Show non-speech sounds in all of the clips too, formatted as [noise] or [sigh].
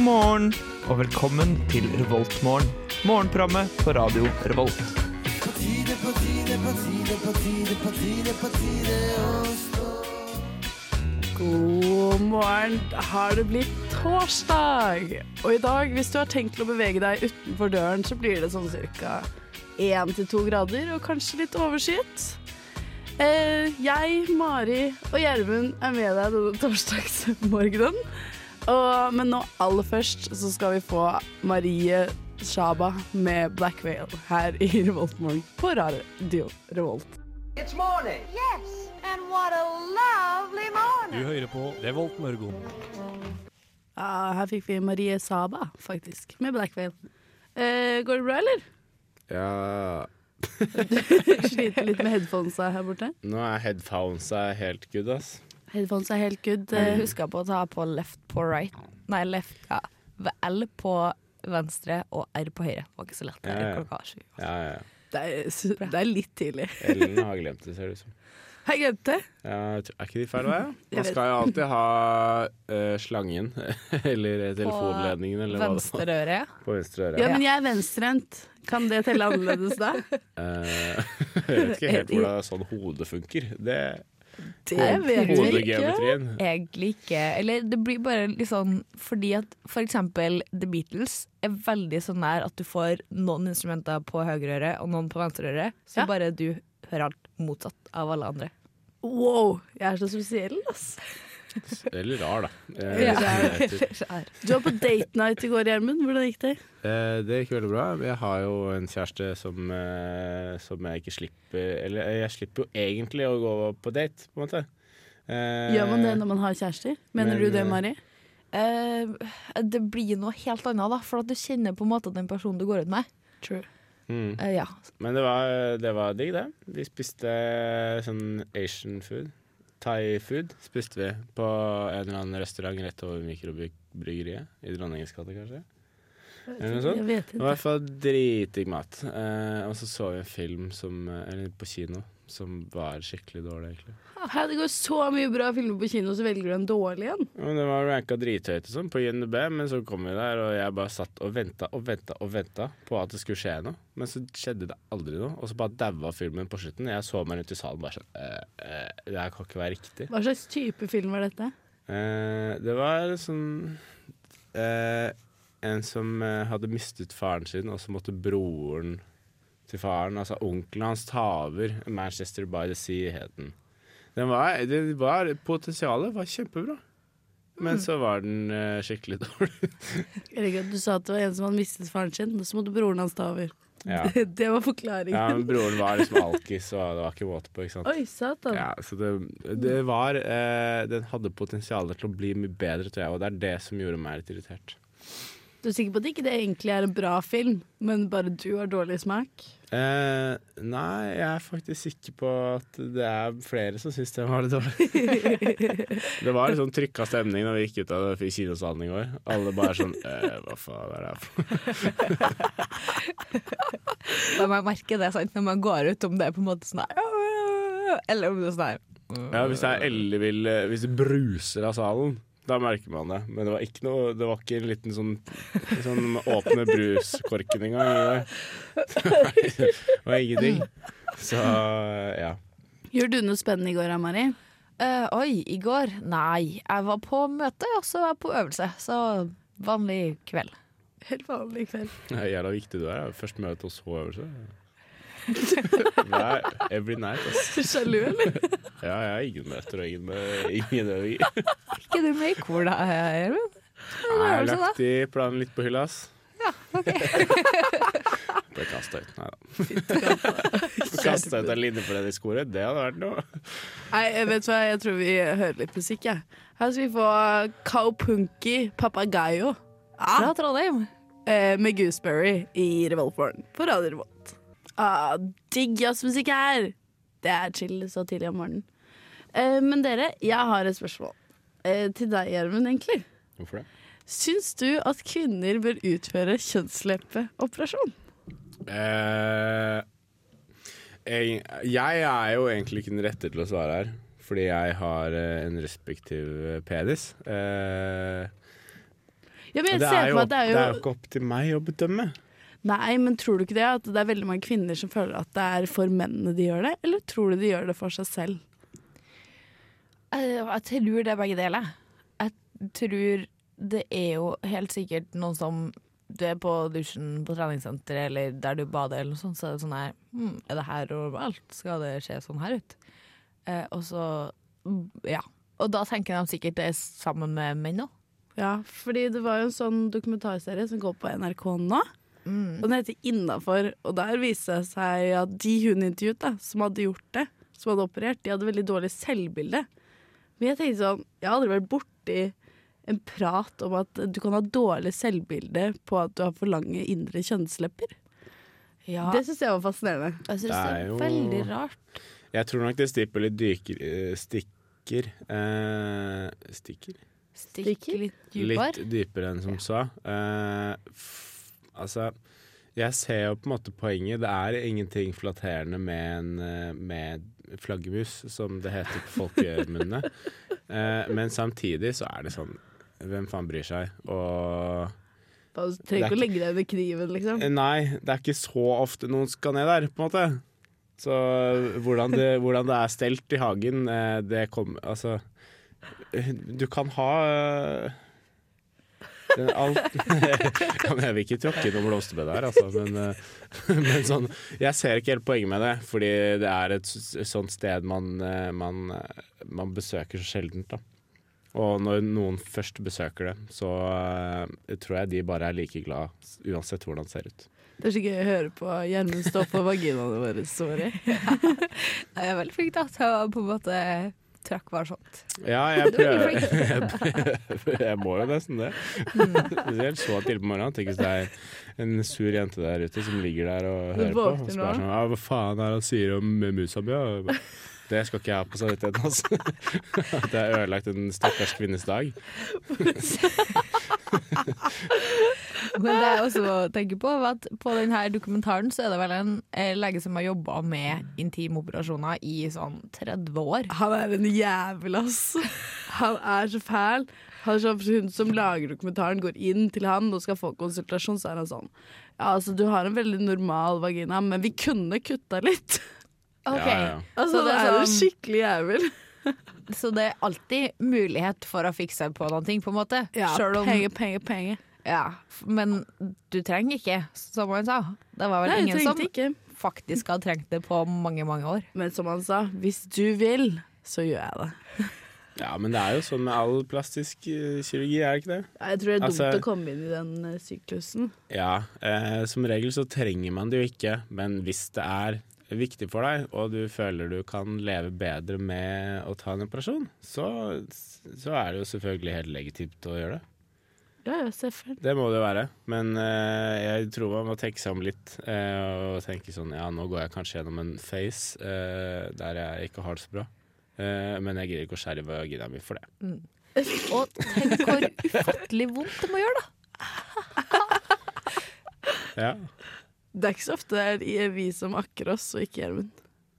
morgen og velkommen til Revoltmorgen. Morgenprogrammet på radio Revolt. God morgen. Har det blitt torsdag? Og i dag, hvis du har tenkt til å bevege deg utenfor døren, så blir det sånn cirka én til to grader, og kanskje litt overskyet. Eh, jeg, Mari og Gjermund er med deg denne torsdagsmorgenen. Og, men nå aller først så skal vi få Marie Shaba med Black Veil her i Revoltmorgen på Radio Revolt. It's morning. Yes, and what a lovely morning. Du hører på Revolt Mørgon. Ja, her fikk vi Marie Saba, faktisk, med Black Veil. Eh, går det bra, eller? Ja Sliter litt med headphonesa her borte. Nå er headphonesa helt good, ass. Headphones er helt good. Jeg Eh, husk husker på å ta på left på right. Nei, left ja. L på venstre og R på høyre. Det var ikke så lett. Det Ja, er ja. klokka sju. Ja, ja. det, er, s- det er litt tidlig. Ellen har glemt det, ser det ut som. [laughs] Jeg glemte det. Ja, jeg tror- er ikke de feil vei? ja? Man vet. skal jo alltid ha eh, slangen, [laughs] eller eh, telefonledningen, eller hva det var. [laughs] Venstre øre. På venstre øre. Ja, men jeg er venstrehendt. Kan det telle annerledes da? Eh, jeg vet ikke helt hvordan sånn hode funker. Det [laughs] Det vet vi ikke. hodegeometrien. Egentlig ikke. Eller det blir bare litt sånn fordi at for eksempel The Beatles er veldig sånn der at du får noen instrumenter på høyre øre og noen på venstre øre, så Ja. bare du hører alt motsatt av alle andre. Wow, jeg er så spesiell, ass. Eller rar, da. Eh, [laughs] Ja. som det heter. Du var på date night i går, Gjermund. Hvordan gikk det? Eh, det gikk veldig bra. Jeg har jo en kjæreste som, eh, som jeg ikke slipper Eller eh, jeg slipper jo egentlig å gå på date, på en måte. Eh, Gjør man det når man har kjærester? Mener men, du det, eh, Mari? Eh, det blir noe helt annet, da, for at du kjenner på en måte den personen du går ut med. True. mm. Eh, ja, Men det var, det var digg, det. Vi spiste sånn Asian food. Thai-food spiste vi på en eller annen restaurant rett over mikrobryggeriet. I Dronningens gate, kanskje. Eller noe sånt. Jeg vet Det var i ikke. hvert fall dritdigg mat. Eh, og så så vi en film som, eh, eller på kino som var skikkelig dårlig, egentlig. Her, det går så mye bra filmer på kino, så velger du en dårlig en. Ja, men den var ranka drithøyt og sånn på INDB, men så kom vi der, og jeg bare satt og venta og venta og venta på at det skulle skje noe. Men så skjedde det aldri noe, og så bare daua filmen på slutten. Jeg så meg rundt i salen bare sånn eh, eh, Det her kan ikke være riktig. Hva slags type film var dette? Eh, det var sånn eh, En som eh, hadde mistet faren sin, og så måtte broren til faren, altså onkelen hans, ta over. 'Manchester by the Sea' het den. den var, det var, potensialet var kjempebra, men så var den eh, skikkelig [laughs] dårlig. Herregud, du sa at det var en som hadde mistet faren sin, og så måtte broren hans ta over. ja. Det, [laughs] det var [laughs] ja, forklaringen. men broren var liksom alkis, og det var ikke måte på. ikke sant? Oi, sånn. satan. Ja, så det, det var eh, Den hadde potensial til å bli mye bedre, tror jeg, og det er det som gjorde meg litt irritert. Du er sikker på at ikke det egentlig er en bra film, men bare du har dårlig smak? Eh, nei, jeg er faktisk sikker på at det er flere som syns den var litt dårlig. det var litt sånn trykka stemning når vi gikk ut av det- kinosalen i går. Alle bare sånn eh, Hva faen er det her for noe? Da må jeg merke det sant? når man går ut, om det er på en måte sånn her Eller om det er sånn her Ja, hvis det er ellevill eh, Hvis det bruser av salen, da merker man det. Men det var ikke noe Det var ikke en liten sånn, sånn åpne bruskorken engang. i går. [laughs] det var ingenting. Så ja. Gjorde du noe spennende i går, da, Mari? Eh, Oi, i går? Nei, jeg var på møte, og så var jeg på øvelse. Så vanlig [laughs] kveld. Helt vanlig kveld. Det er Jævla viktig du er. ja. Først møte og så øvelse. Hver, every night, ass. Sjalu, eller? Ja, jeg har ingen møter og ingen, ingen øvinger. Ikke du med i kor, da, Gjermund? Jeg har øvelse, da? lagt de planene litt på hylla, ass. Ja, ok. [laughs] Ble kasta ut, nei da. Ble kasta ut av linjeforeningskoret, det hadde vært noe. Nei, jeg vet hva, jeg tror vi hører litt musikk, jeg. Her skal vi få Kaupunki Papagayo Ah. Fra Trondheim. eh, med Gooseberry i Revoltborn på Radio Revolt. Ah, digg jazzmusikk her! Det er chill så tidlig om morgenen. Eh, men dere, jeg har et spørsmål eh, til deg, Gjermund, egentlig. Hvorfor det? Syns du at kvinner bør utføre kjønnsleppeoperasjon? Eh, jeg, jeg er jo egentlig ikke den rette til å svare her, fordi jeg har eh, en respektiv eh, penis. Eh, Ja, men Og jeg Det ser er, for jo, meg opp- at det er jo, ikke opp til meg å bedømme. Nei, men tror du ikke det? At det er veldig mange kvinner som føler at det er for mennene de gjør det? Eller tror du de gjør det for seg selv? Eh, Jeg tror det er begge deler. Jeg tror det er jo helt sikkert noen som Du er på dusjen på treningssenteret eller der du bader, eller noe sånt, så er det sånn her hm, Er det her overalt? Skal det se sånn her ut? Eh, og så mm, Ja. Og da tenker de sikkert det er sammen med menn òg. Ja, fordi det var jo en sånn dokumentarserie som går på NRK nå. Og den heter Innafor, og der viste det seg at de hun intervjuet, da, som hadde gjort det, som hadde operert, de hadde veldig dårlig selvbilde. Men jeg tenkte sånn, jeg har aldri vært borti en prat om at du kan ha dårlig selvbilde på at du har for lange indre kjønnslepper. Ja, Det syns jeg var fascinerende. jeg syns det det er er jo- veldig rart. Jeg tror nok det stipulet dyker, eh, stikker eh, Stikker? Stikk Stikker? litt dypere. [laughs] Litt dypere enn som så. Eh, f, altså Jeg ser jo på en måte poenget. Det er ingenting flatterende med en eh, med flaggermus, som det heter på folkemunne. [laughs] Eh, men samtidig så er det sånn Hvem faen bryr seg? Og Bare Trenger ikke å legge deg under kniven, liksom. Eh, Nei, det er ikke så ofte noen skal ned der, på en måte. Så eh, hvordan det, hvordan det er stelt i hagen, eh, det kommer Altså, eh, du kan ha eh, den- alt [laughs] Ja, men Jeg vil ikke tråkke noe blomsterbed her, altså, men, eh, [laughs] men sånn Jeg ser ikke helt poenget med det, fordi det er et s- sånt sted man, eh, man, eh, man besøker så sjeldent, da. Og når noen først besøker det, så eh, tror jeg de bare er like glad s- uansett hvordan det ser ut. Det er så gøy å høre på Gjermund stå på vaginaene våre, sorry. Jeg er veldig flink da, til å på en måte trakk bare sånt. Ja, [laughs] jeg prøver. [laughs] flink. jeg må jo nesten det. Mm. Spesielt så tidlig på morgenen. Tenk hvis det er en sur jente der ute som ligger der og Du hører på. Og våkner så bare nå? sånn, ja, hva faen er det han sier om musa mi? ja?» Jeg bare, Det skal ikke jeg ha på samvittigheten, altså. [laughs] At jeg har ødelagt en stakkars kvinnes dag. Men det jeg også tenker på, var at på denne dokumentaren så er det vel en eh, lege som har jobba med intimoperasjoner i sånn 30 år. Han er en jævel, ass. Han er så fæl. Han er så, hun som lager dokumentaren, går inn til han og skal få konsultasjon, så er han sånn Ja, altså, du har en veldig normal vagina, men vi kunne kutta litt. Ja, ja. Altså, Så det det er er jo sånn- skikkelig jævel. Så det er alltid mulighet for å fikse på noen ting, på en måte. Selv om, penger, penger, penger. ja, f- men du trenger ikke, som han sa. Det var vel Nei, jeg ingen som trengte ikke. faktisk hadde trengt det på mange, mange år. Men som han sa, hvis du vil, så gjør jeg det. ja, men det er jo sånn med all plastisk eh, kirurgi, er det ikke det? Ja, Jeg tror det er dumt Altså- å komme inn i den eh, syklusen. Ja, eh, som regel så trenger man det jo ikke, men hvis det er viktig for deg, og du føler du kan leve bedre med å ta en operasjon, så, så er det jo selvfølgelig helt legitimt å gjøre det. Ja, ja, selvfølgelig. Det må det jo være, men eh, jeg tror man må tenke seg om litt eh, og tenke sånn ja, nå går jeg kanskje gjennom en phase eh, der jeg ikke har det så bra, eh, men jeg gidder ikke å skjære vagina mi for det. Og tenk hvor ufattelig vondt det må gjøre, da. Ja. Det er ikke så ofte det er vi som akker oss, og ikke Gjermund.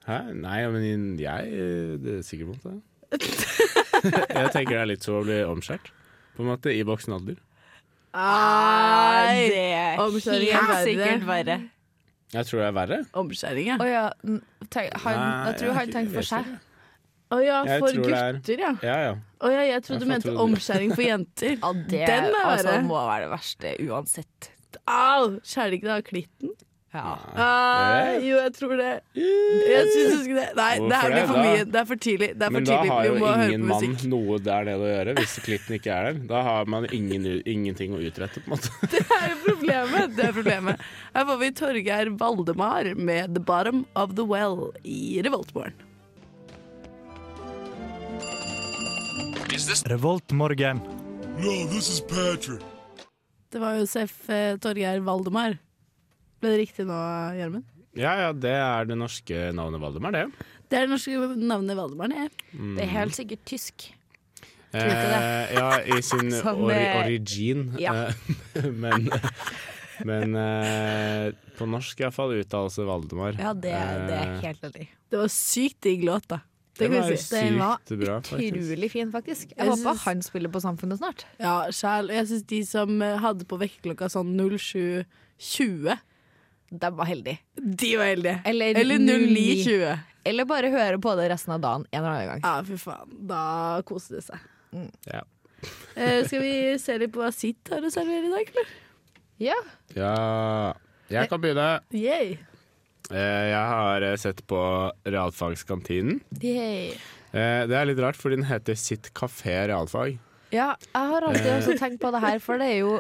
Hæ? Nei, men jeg eh, Det er sikkert [laughs] vondt, det. jeg tenker det er litt som å bli omskjært. På en måte i voksen alder. Nei! det er Omskjæring er verre. verre. Jeg tror det er verre. Omskjæring, ja. Å ja, n- tenk, han, Nei, jeg tror han jeg tenkte for vet seg. ikke. Å ja, Jeg for tror det er- gutter, ja. Ja, ja. Å ja, jeg trodde Jeg du mente trodde det. omskjæring for [laughs] jenter. Ja, det Den er altså, verre. må være det verste uansett. Au! Skjærer det ikke det av klitten? Ja. Ah, jo, jeg tror det. Jeg synes ikke det. Nei, det her Hvorfor blir det? for Da- mye. Det er for tidlig. Det er Men for da tidlig. har Vi jo må høre ingen på mann musikk. noe der nede å gjøre, hvis klitten ikke er der. Da har man ingen, ingenting å utrette, på en måte. Det er jo [laughs] problemet. Det er problemet. Her får vi Torgeir Valdemar med 'The Bottom of the Well' i Revoltmorgen. Revoltmorgen. Det var Josef eh, Torgeir Valdemar. Ble det riktig nå, Gjermund? [laughs] Ja ja, det er det norske navnet Valdemar, det. Det er det norske navnet Valdemar. jeg. Mm. Det er helt sikkert tysk. Eh, ja, i [laughs] sin Som, ori eh, origin. ja. Eh, [laughs] men men eh, på norsk iallfall uttales det Valdemar. Ja, det, det er Eh, helt enig. Det var sykt digg låt, da. Det kan vi si. sykt Den var bra, faktisk. utrolig fin, faktisk. Jeg, Jeg håper synes- han spiller på Samfunnet snart. Ja, sjæl. Jeg syns de som eh, hadde på vekkerklokka sånn 07.20, De var heldige. de var heldige. Eller, Eller 09.20. Eller bare høre på det resten av dagen en eller annen gang. Ja, fy faen. Da koser det seg. Ja. Eh, skal vi se litt på hva sitt har å servere i dag, eller? Ja. Ja. Jeg kan begynne. Yay. Eh, Jeg har eh, sett på realfagskantinen. Yay. Eh, Det er litt rart, fordi den heter Sitt kafé realfag. ja. Jeg har alltid Eh. også tenkt på det her, for det er jo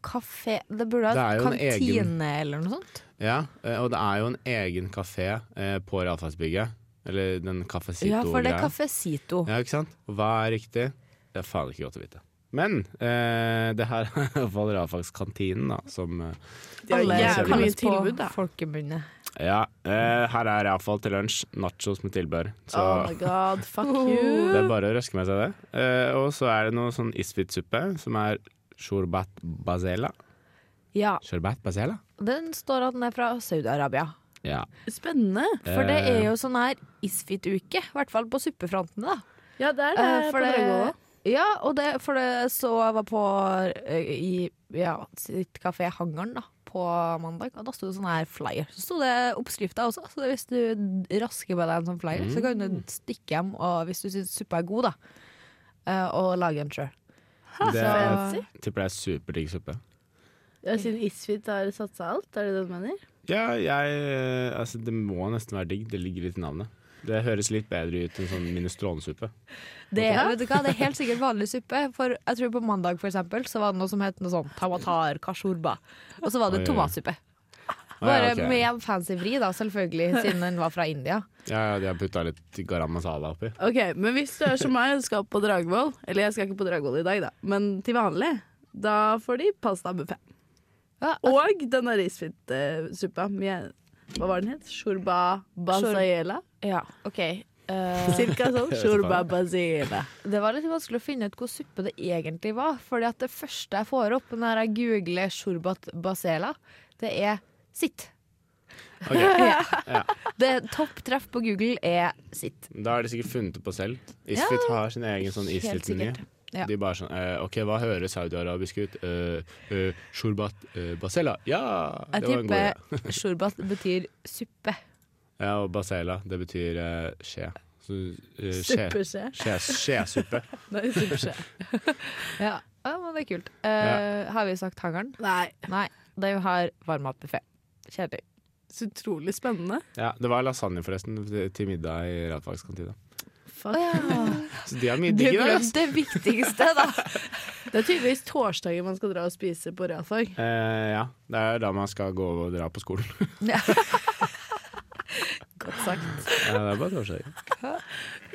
kafé Det burde ha Det et er jo en egen- kantine eller noe sånt. Ja, eh, og det er jo en egen kafé eh, på realfagsbygget. Eller den cafecito Ja, for det er Cafecito. Ja, ikke sant? Og hva er riktig? Det er faen ikke godt å vite. Men eh, det her [laughs] er i hvert fall realfagskantinen, da, som eh, De har Alle jævlig kalles mye tilbud, da. folkemunne. Ja, eh, her er iallfall til lunsj nachos med tilbør. Så Oh my god, fuck det you. er bare å røske med seg det. Eh, og så er det noe sånn isfit-suppe som er shorbat basela. Ja, Shorbat basela? den står at den er fra Saudi-Arabia. Ja. Spennende. For det Eh. er jo sånn her isfit-uke, i hvert fall på suppefronten, da. [laughs] Ja, det er det. Eh, for på Dragvoll også. det, ja, og det, for det så jeg var på eh, i ja, sitt kafé Hangaren da, på mandag, og da sto det sånn her flyer. Så sto det oppskrifta også, så hvis du rasker på deg en sånn flyer, så kan du stikke hjem, og hvis du syns suppa er god, da, eh, og lage en sjøl. Det Fancy. tipper det er superdigg suppe. Ja, siden Isfit har satsa alt, er det det du mener? Ja, jeg eh, Altså, det må nesten være digg. Det ligger litt i navnet. Det høres litt bedre ut enn sånn minestronesuppe. Det, vet du hva, det er helt sikkert vanlig suppe. For jeg tror På mandag for eksempel, så var det noe som het noe sånn tamatar kashurba. Og så var det Oi, oi. tomatsuppe. Ah, Bare ja, ok. med en fancy vri, da, selvfølgelig, siden den var fra India. Ja, ja, de har putta litt garam masala [laughs] oppi. Ok, Men hvis du er som meg og skal på Dragvoll, eller jeg skal ikke på Dragvoll i dag, da, men til vanlig, da får de pasta buffé. Ja, Og denne risfittsuppa med Hva var den het? Shorba basayela? ja, ok Eh, Cirka [laughs] sånn. Shorba basayela. Det var litt vanskelig å finne ut hvor suppe det egentlig var. Fordi at det første jeg får opp når jeg googler shurbat basela, det er sitt. Ok, Det Topp treff på Google er sitt. Da har de sikkert funnet det på selv. Isfit har sin egen sånn Helt isfit-meny. sikkert. Ja. De bare sånn eh, OK, hva høres saudi-arabisk ut? Eh, eh, Shorbat eh, basela. Ja! Jeg det var en god idé. [laughs] tipper shurbat betyr suppe. Ja, og basela, det betyr eh, skje. Så, eh, skje. Superskje. Skje, skjesuppe. Nei, superskje. Ja, ja men det er kult. Eh, Ja. Har vi sagt hangaren? Nei, Nei, de har varmmatbuffé. Kjedelig. så utrolig spennende. Ja, det var lasagne forresten til til middag i Radfagskantina. Fuck. Så de har mye [laughs] Det digg er der. altså. jo det viktigste, da. [laughs] Det er tydeligvis torsdager man skal dra og spise på realfag. Eh, ja, det er da man skal gå og dra på skolen. Godt sagt. ja, det er bare torsdag.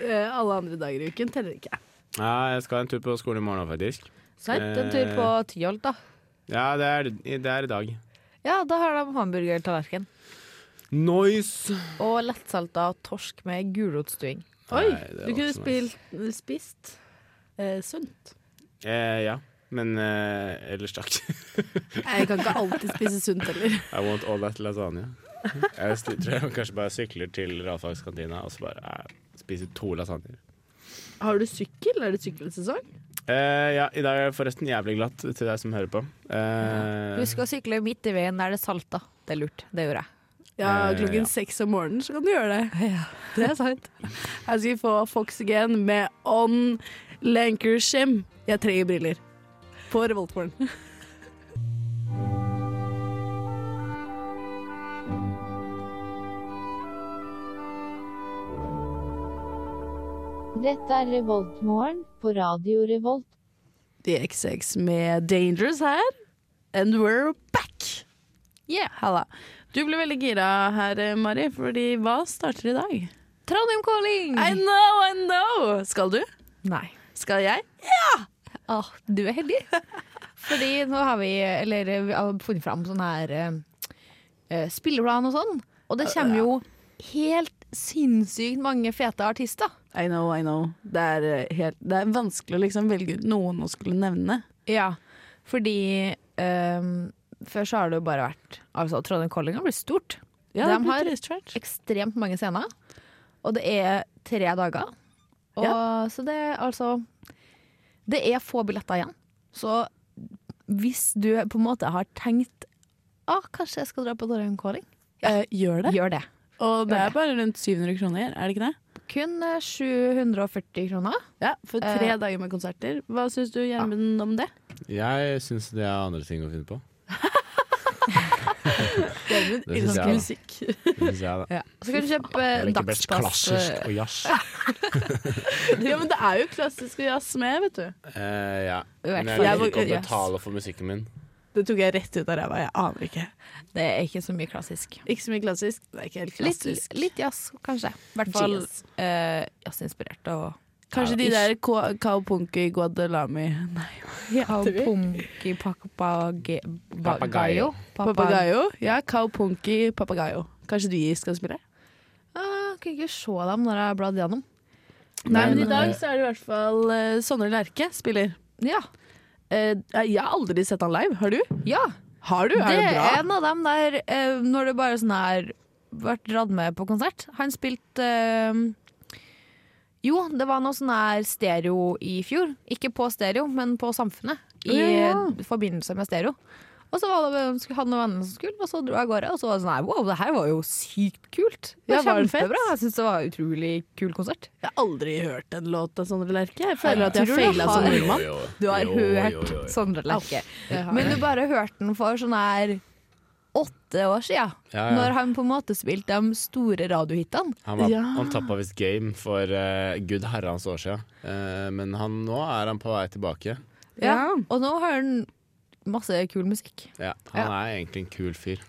Eh, alle andre dager i uken teller ikke. Ja, jeg skal en tur på skolen i morgen òg, faktisk. Sant, en tur på Tyholt, da. Ja, det er, det er i dag. Ja, da har de hamburgertallerken. Noise! Og lettsalta torsk med gulrotstuing. Oi, Nei, det du var kunne ikke spilt, spist eh, sunt. Eh, ja, men eh, ellers takk. [laughs] Jeg kan ikke alltid spise sunt heller. I want all that lasagne. Jeg sti- tror jeg kanskje bare sykler til Radfags kantina og så bare eh, spiser to lasagner. Har du sykkel? Er det sykkelsesong? Eh, ja, i dag er det forresten jævlig glatt til deg som hører på. Eh, Husk å sykle midt i veien der det er salta. Det er lurt. Det gjorde jeg. Ja, Eh, klokken ja. seks om morgenen så kan du gjøre det. Det er [laughs] sant. Jeg skal få Foxygen med On Lancashire. Jeg trenger briller. På [laughs] Revoltmorgen. Dette er Revoltmorgen på Radio Revolt. DXX med Dangerous her. And we're back! Yeah, halla. Du ble veldig gira her, eh, Mari, fordi hva starter i dag? Trondheim calling! I know, I know! Skal du? Nei. Skal jeg? Åh, Ah, du er heldig. Fordi nå har vi, eller, vi har funnet fram sånn her eh, spilleplan og sånn. Og det kommer jo helt sinnssykt mange fete artister. I know, I know. Det er, eh, helt, det er vanskelig å liksom velge ut noen å skulle nevne. Ja, fordi ehm, før så har det jo bare vært altså, Trondheim Calling har blitt stort. Ja, De det blir har- research. Ekstremt mange scener. Og det er tre dager. Og, Så det er altså Det er få billetter igjen. Så hvis du på en måte har tenkt Å, kanskje jeg skal dra på Dorønkåring, Eh, gjør det. gjør det. Og det gjør er bare rundt 700 kroner, er det ikke det? Kun eh, 740 kroner. Ja, for tre Eh, dager med konserter. Hva syns du, Gjermund, om det? Jeg syns det er andre ting å finne på. Gjermund Det syns elsker jeg, musikk. [laughs] Det synes jeg, da. Så kan du kjøpe eh, dagspass. eh, og jazz. Ja, men det er jo klassisk og jazz med, vet du. Eh, ja. I hvert Men fall. jeg vil ikke Jeg- betale for musikken min. Det tok jeg rett ut av ræva, jeg aner ikke. Det er ikke så mye klassisk. Ikke så mye klassisk. Det er ikke helt Litt, klassisk. litt jazz, kanskje. I hvert fall Jazz. eh, jazzinspirert og Kanskje de Ish. der Ka- Kaupunki Guadalami Nei, Punky papagayo. Papagayo? Ja, Kaupunki Papagayo. Kanskje de skal spille? Ah, Jeg kunne ikke se dem når jeg bladde gjennom. Nei, men i Men, dag eh, så er det i hvert fall eh, Sondre Lerche spiller. Ja. Eh, jeg har aldri sett han live. Har du? ja. Har du? Det Er det, er bra? en av dem der eh, når det bare sånn her vært dratt med på konsert. Han spilte eh, Jo, det var noe sånn her stereo i fjor. Ikke på stereo, men på Samfunnet. I Ja, ja. forbindelse med stereo. Og så var det han og vennene som skulle, og så dro jeg av gårde. Og så var det sånn her, wow, det her var jo sykt kult. Det Ja, var var det fett? kjempebra. Jeg syns det var utrolig kul konsert. jeg har aldri hørt en låt av Sondre Lerche. Jeg føler at jeg Tror har du faila har- som nordmann. Jo, jo, Du har jo, hørt jo, jo, jo. Sondre Lerche. Jeg har Men du bare hørte den for sånn her åtte år siden. Ja, ja. Når han på en måte spilte de store radiohitene. Han var Ja. on top of his game for eh, gud herrens år siden. Eh, men han, nå er han på vei tilbake. Ja. Og nå har han masse kul musikk. Ja, han er egentlig en kul fyr.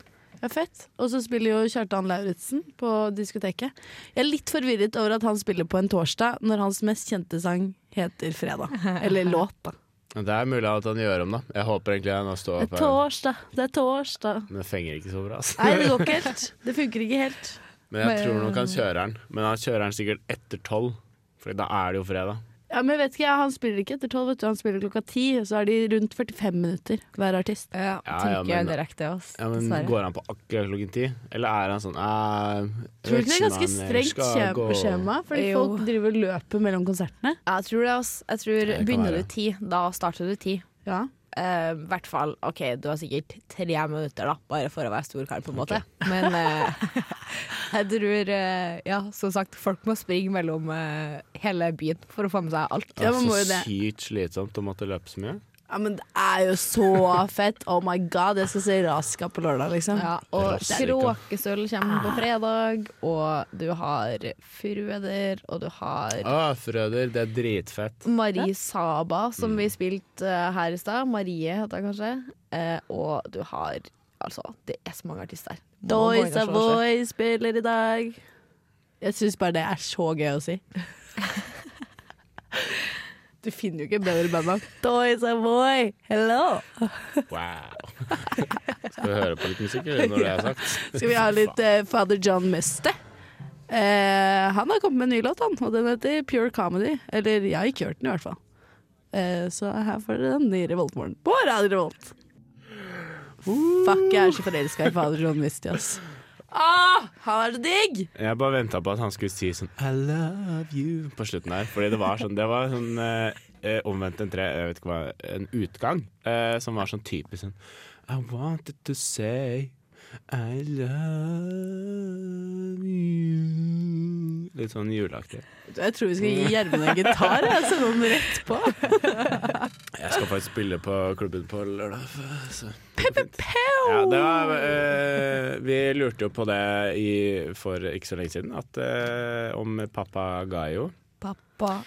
Ja, fett. Og så spiller jo Kjartan Lauritzen på diskoteket. Jeg er litt forvirret over at han spiller på en torsdag når hans mest kjente sang heter Fredag. [laughs] Eller låt, da. Men Det er mulig at han gjør om, da. Jeg håper egentlig han har Det stått er opp her. torsdag, det er torsdag. Men det fenger ikke så bra. altså. ass. Nei, det går ikke helt. Det funker ikke helt. Men jeg tror nok han kjører den. Men han kjører den sikkert etter tolv, for da er det jo fredag. Ja, men vet ikke, Han spiller ikke etter tolv, vet du. Han spiller klokka ti. Så er de rundt 45 minutter hver artist. Ja, Ja, tenker ja, men- jeg direkte, ass. Ja, men Dessverre. Går han på akkurat klokken ti, eller er han sånn Tror du ikke eh, det er ganske strengt skje- på skjema? Fordi Jo. folk driver og løper mellom konsertene. Jeg tror det, ass. Jeg tror det kan Begynner være. du ti, da starter du ti. Ja. Eh, I hvert fall, OK, du har sikkert tre minutter, da, bare for å være stor kar, på en måte. Men eh, [laughs] jeg tror, eh, ja, som sagt, folk må springe mellom eh, hele byen for å få med seg alt. Ja, man må jo det. Sykt slitsomt å måtte løpe så mye. ja, men det er jo så fett. Oh my god, jeg skal se Raska på lørdag, liksom. Ja, og Rasserikker. kråkesølv kommer på fredag, og du har Furueder, og du har Å, Frøder, det er dritfett. Marie Saba, som vi spilte eh, her i stad. Marie heter hun kanskje. Eh, og du har Altså, det er så mange artister her. Må gå Dois inn og se det selv. Avoy spiller i dag. Jeg syns bare det er så gøy å [laughs] si. Du finner jo ikke bedre bandnavn. Dois Avoy, hello! Wow. [laughs] Skal vi høre på litt musikk eller, når det er sagt? Skal vi ha litt eh, Father John Muste? Eh, han har kommet med en ny låt, han, og den heter Pure Comedy. Eller jeg har ikke hørt den, i hvert fall. Eh, så her får dere den i Revoltmorgen. På Radio Revolt! Fuck, jeg er så forelska i Father John Muste, ass. Ah, han er så digg! Jeg bare venta på at han skulle si sånn I love you på slutten her. Fordi det var sånn Det var sånn eh, eh, omvendt en tre Jeg vet ikke hva En utgang eh, som var sånn typisk sånn I wanted to say I love you Litt sånn juleaktig. Jeg tror vi skal gi Gjermund en gitar. Jeg sender den rett på. Jeg skal faktisk spille på klubben på lørdag. Så. Ja, det var, eh, vi lurte jo på det i, for ikke så lenge siden, at eh, om papagayo Pappa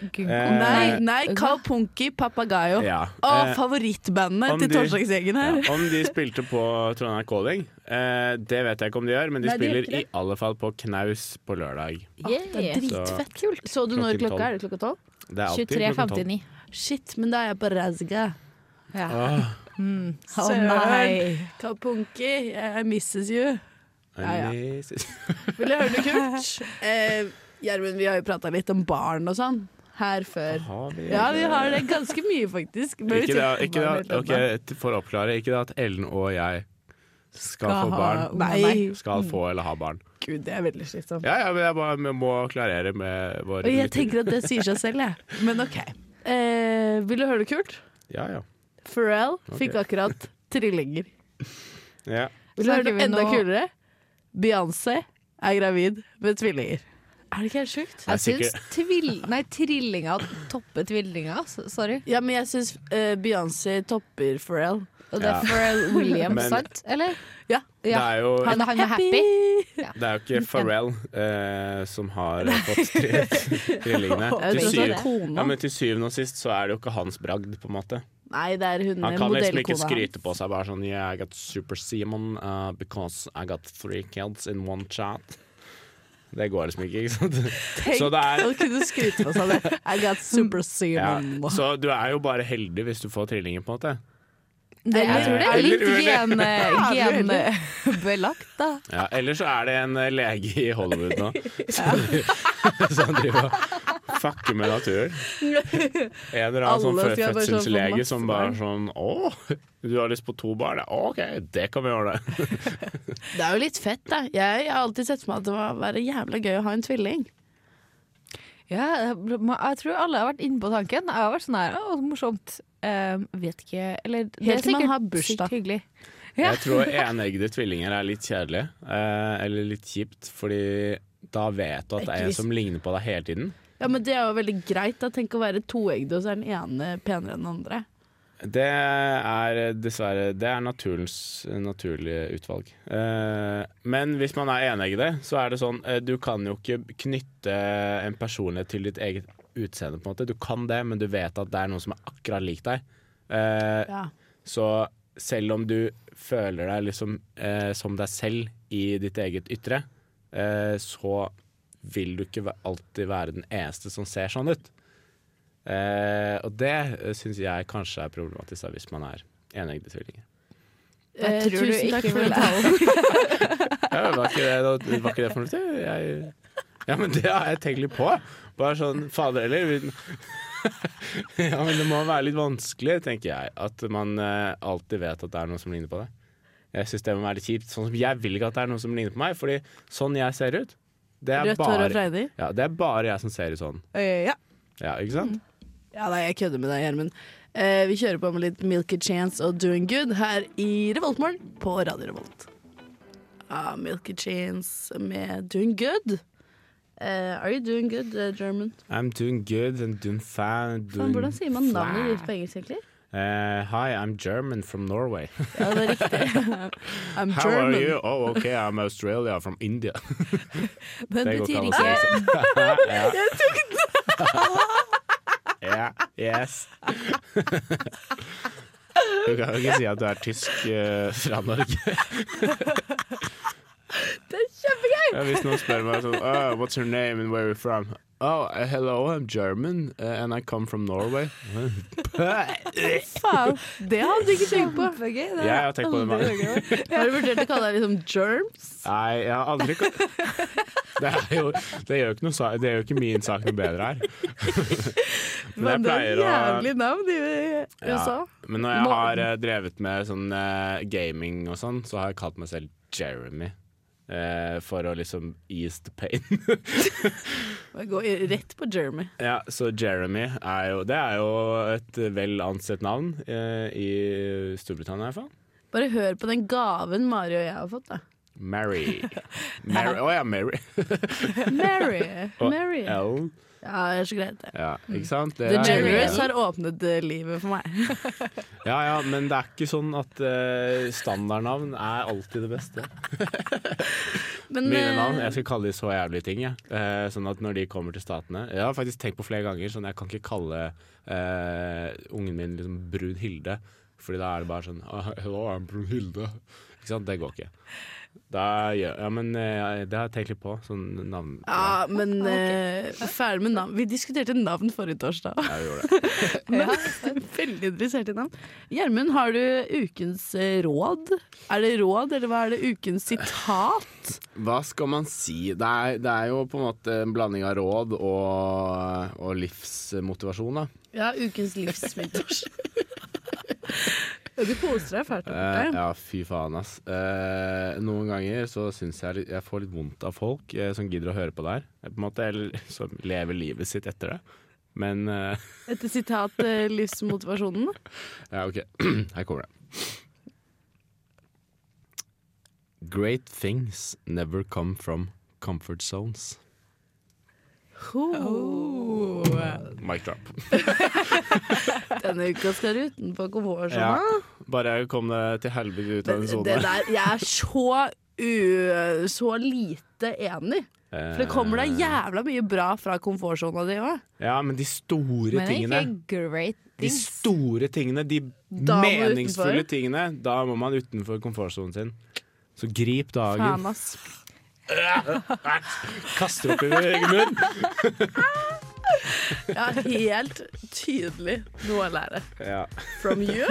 Gungo. Eh, Nei, nei Kaupunki Papagayo. Ja. Å, eh, favorittbandene om til du- Torsdagsgjengen her. Ja, om de spilte på Trondheim Calling, eh, det vet jeg ikke om de gjør, men de Nei, de gjør spiller ikke i alle fall på Knaus på lørdag. Det er dritfett. Kult. Så du når Klokken tolv. klokka er? det klokka tolv? Det er alltid klokken tolv. 23.59. Shit, men da er jeg på Razga. Åh, Å Søren. nei. Kaupunki, I misses you. Ja, Jesus. Vil du høre noe [laughs] kult? Eh, Gjermund, vi har jo prata litt om barn og sånn her før. Har vi- Ja, vi har det ganske mye, faktisk. Men vi Ikke tror det, ikke barn er det, helt annet. ok, for å oppklare, ikke det at Ellen og jeg skal få barn. Nei. Nei. Skal få eller ha barn. Gud, det er veldig slitsomt. Ja, ja, men jeg bare jeg må klarere med våre Og jeg lyttere. tenker at det sier seg selv, jeg. [laughs] Men OK. Eh, vil du høre det kult? Ja, ja. Pharrell Ok. fikk akkurat [laughs] trillinger. ja. Vil du høre Snakker det vi enda nå- kulere? Beyoncé er gravid med tvillinger. Er det ikke helt sjukt? er Jeg syns tvil... Nei, trillinga topper tvillinga. s- Sorry. Ja, men jeg syns Beyoncé topper Pharrell. Og det Ja. er Pharrell Williams, Men- sant? Eller? Ja. Det ja. er jo, Han, han er happy. det er jo ikke Pharrell eh, som har fått tre- [laughs] trillingene. Jeg Til, syv- tror også syv, det. ja, Kona. men til syvende og sist så er det jo ikke hans bragd, på en måte. Nei, det er hun Han kan liksom ikke modellkona. hans. skryte på seg bare sånn Yeah, I got super Simon uh, because I got three kids in one chat. Det går liksom ikke, ikke sant? Tenk Så det er- å kunne skryte på seg det. I got super Ja. semen. Så du er jo bare heldig hvis du får trillinger, på en måte. Det, Jeg tror det er litt litt gen- uheldig. genbelagt, da. Ja, Eller så er det en eh, lege i Hollywood nå [laughs] som driver og fucker med naturen. En eller annen sånn Alle fø- skal bare sånn få fødselslege masse som bare sånn Å, du har lyst på to barn? Ja, OK, det kan vi ordne. Det er jo litt fett, da. Jeg har alltid sett for meg at det må være jævla gøy å ha en tvilling. Ja, jeg tror alle har vært inne på tanken. Jeg har vært sånn her, å, morsomt. Um, vet ikke Eller det Helt er til man sikkert har bursdag. sykt hyggelig. Ja. Jeg tror eneggede tvillinger er litt kjedelig, eh, eller litt kjipt, fordi da vet du at det er en som ligner på deg hele tiden. Ja, men Det er jo veldig greit. da Tenk å være toegde, og så er den ene penere enn den andre. Det er eh, dessverre Det er naturens naturlige utvalg. Eh, men hvis man er eneggede, så er det sånn eh, Du kan jo ikke knytte en personlighet til ditt eget utseende, på en måte. Du kan det, men du vet at det er noen som er akkurat lik deg. Eh, Ja. Så selv om du føler deg liksom eh, som deg selv i ditt eget ytre, eh, så vil du ikke væ- alltid være den eneste som ser sånn ut. Eh, og det syns jeg kanskje er problematisk da, hvis man er eneggede tvillinger. Eh, Jeg tror du tusen takk ikke for vil- talen. Ja, var, ikke det, var ikke det fornuftig? Jeg, ja, men det har jeg tenkt litt på. Bare sånn fader eller vi- [laughs] Ja, men det må være litt vanskelig, tenker jeg. At man eh, alltid vet at det er noen som ligner på deg. Jeg syns det må være litt kjipt. Sånn som jeg vil ikke at det er noen som ligner på meg, fordi sånn jeg ser ut det er, Rødt hår og bare, fregner. ja, det er bare jeg som ser ut sånn. Eh, ja. Ja, ikke sant? ja, nei, jeg kødder med deg, Gjermund. Eh, vi kjører på med litt Milky Chance og Doing Good her i Revoltmorgen på Radio Revolt. Ah, Milky Chance med Doing Good. Eh, are you doing good, eh, German? I'm doing good, I'm doing fine I'm doing Faen, hvordan sier man navnet ditt på engelsk, egentlig? Eh, hi, I'm German from Norway. Ja, det er riktig. [laughs] I'm How German. are you? Oh, okay, I'm Australia from [laughs] India. Det Men det går ikke an betyr å si [laughs] ikke sånn. Jeg tok den! Ja, yes. [laughs] Du kan jo ikke si at du er tysk eh, fra Norge. Det er kjempegøy! Ja, Hvis noen spør meg sånn oh, What's your name and where are you from? Oh, eh, hello, I'm German eh, and I come from Norway. Faen, det hadde jeg ikke tenkt på. Kjempegøy. Ja, jeg har tenkt på det mange Har du vurdert å kalle deg liksom germs? Nei, jeg har aldri ka- [laughs] det, er jo, det, gjør jo ikke noe, sa- det gjør jo ikke min sak noe [laughs] bedre her. Men det er Men jeg pleier å jævlig navn i eh, USA. Men når jeg har eh, drevet med sånn eh, gaming og sånn, så har jeg kalt meg selv Jeremy. eh, for å liksom ease the pain. [laughs] Jeg går rett på Jeremy. ja, så Jeremy er jo Det er jo et vel ansett navn eh, i Storbritannia, i hvert fall. Bare hør på den gaven Mari og jeg har fått, da. [laughs] [laughs] Mary. Mary. Å ja, Mary. Mary. Og Mary. Ja, L. jeg er så glad i det. Ja, ikke sant? Det The er- Generous har åpnet eh, livet for meg. [laughs] Ja ja, men det er ikke sånn at eh, standardnavn er alltid det beste. Men, Mine eh, navn, Jeg skal kalle de så jævlige ting. Jeg. Eh, sånn at når de kommer til Statene Jeg har faktisk tenkt på flere ganger sånn jeg kan ikke kalle eh, ungen min liksom Brun Hilde. Fordi da er det bare sånn «Ah, Hello, I'm Brun Hilde. Ikke sant? Det går ikke. Da, gjør- ja, men eh, det har jeg tenkt litt på. Sånn navn ja, men eh, ferdig med navn. Vi diskuterte navn forrige torsdag. Jeg gjorde det. [laughs] Men, veldig interessert i navn. Gjermund, har du ukens eh, råd? Er det råd, eller hva er det? Ukens sitat? Hva skal man si? Det er, det er jo på en måte en blanding av råd og, og livsmotivasjon, da. Ja, ukens livsmiddel. Ja, du koser deg fælt. Eh, Bjarte. ja, fy faen, ass. Eh, noen ganger så syns jeg litt, jeg får litt vondt av folk eh, som gidder å høre på det her. Eh, På en måte, Eller [laughs] som lever livet sitt etter det. Men eh, Etter sitat eh, livsmotivasjonen. Ja, ok. [clears throat] Her kommer det. Great things never come from comfort zones. Oh. Mic drop. Denne uka skal du utenfor komfortsona. Ja. Bare jeg kom det til helvete ut av Men en Det sone. der, jeg er så, u, så lite enig. Eh, For det kommer da jævla mye bra fra komfortsona di òg. Ja, men de store Men det tingene er ikke great De things. store tingene, de Da må du meningsfulle utenfor. tingene. Da må man utenfor komfortsonen sin. Så grip dagen. ass. Kaster opp i egen munn. Ja, helt tydelig noe å lære. Ja, From you.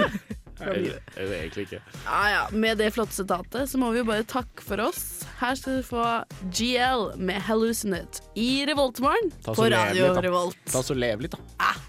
From you. eller, eller egentlig ikke. Ja, ja. Med det flotte sitatet så må vi jo bare takke for oss. Her skal du få GL med 'Hallucinate' i Revoltmorgen Ta så på levelig, Radio da. Revolt. Ta så lev litt, da. Ah,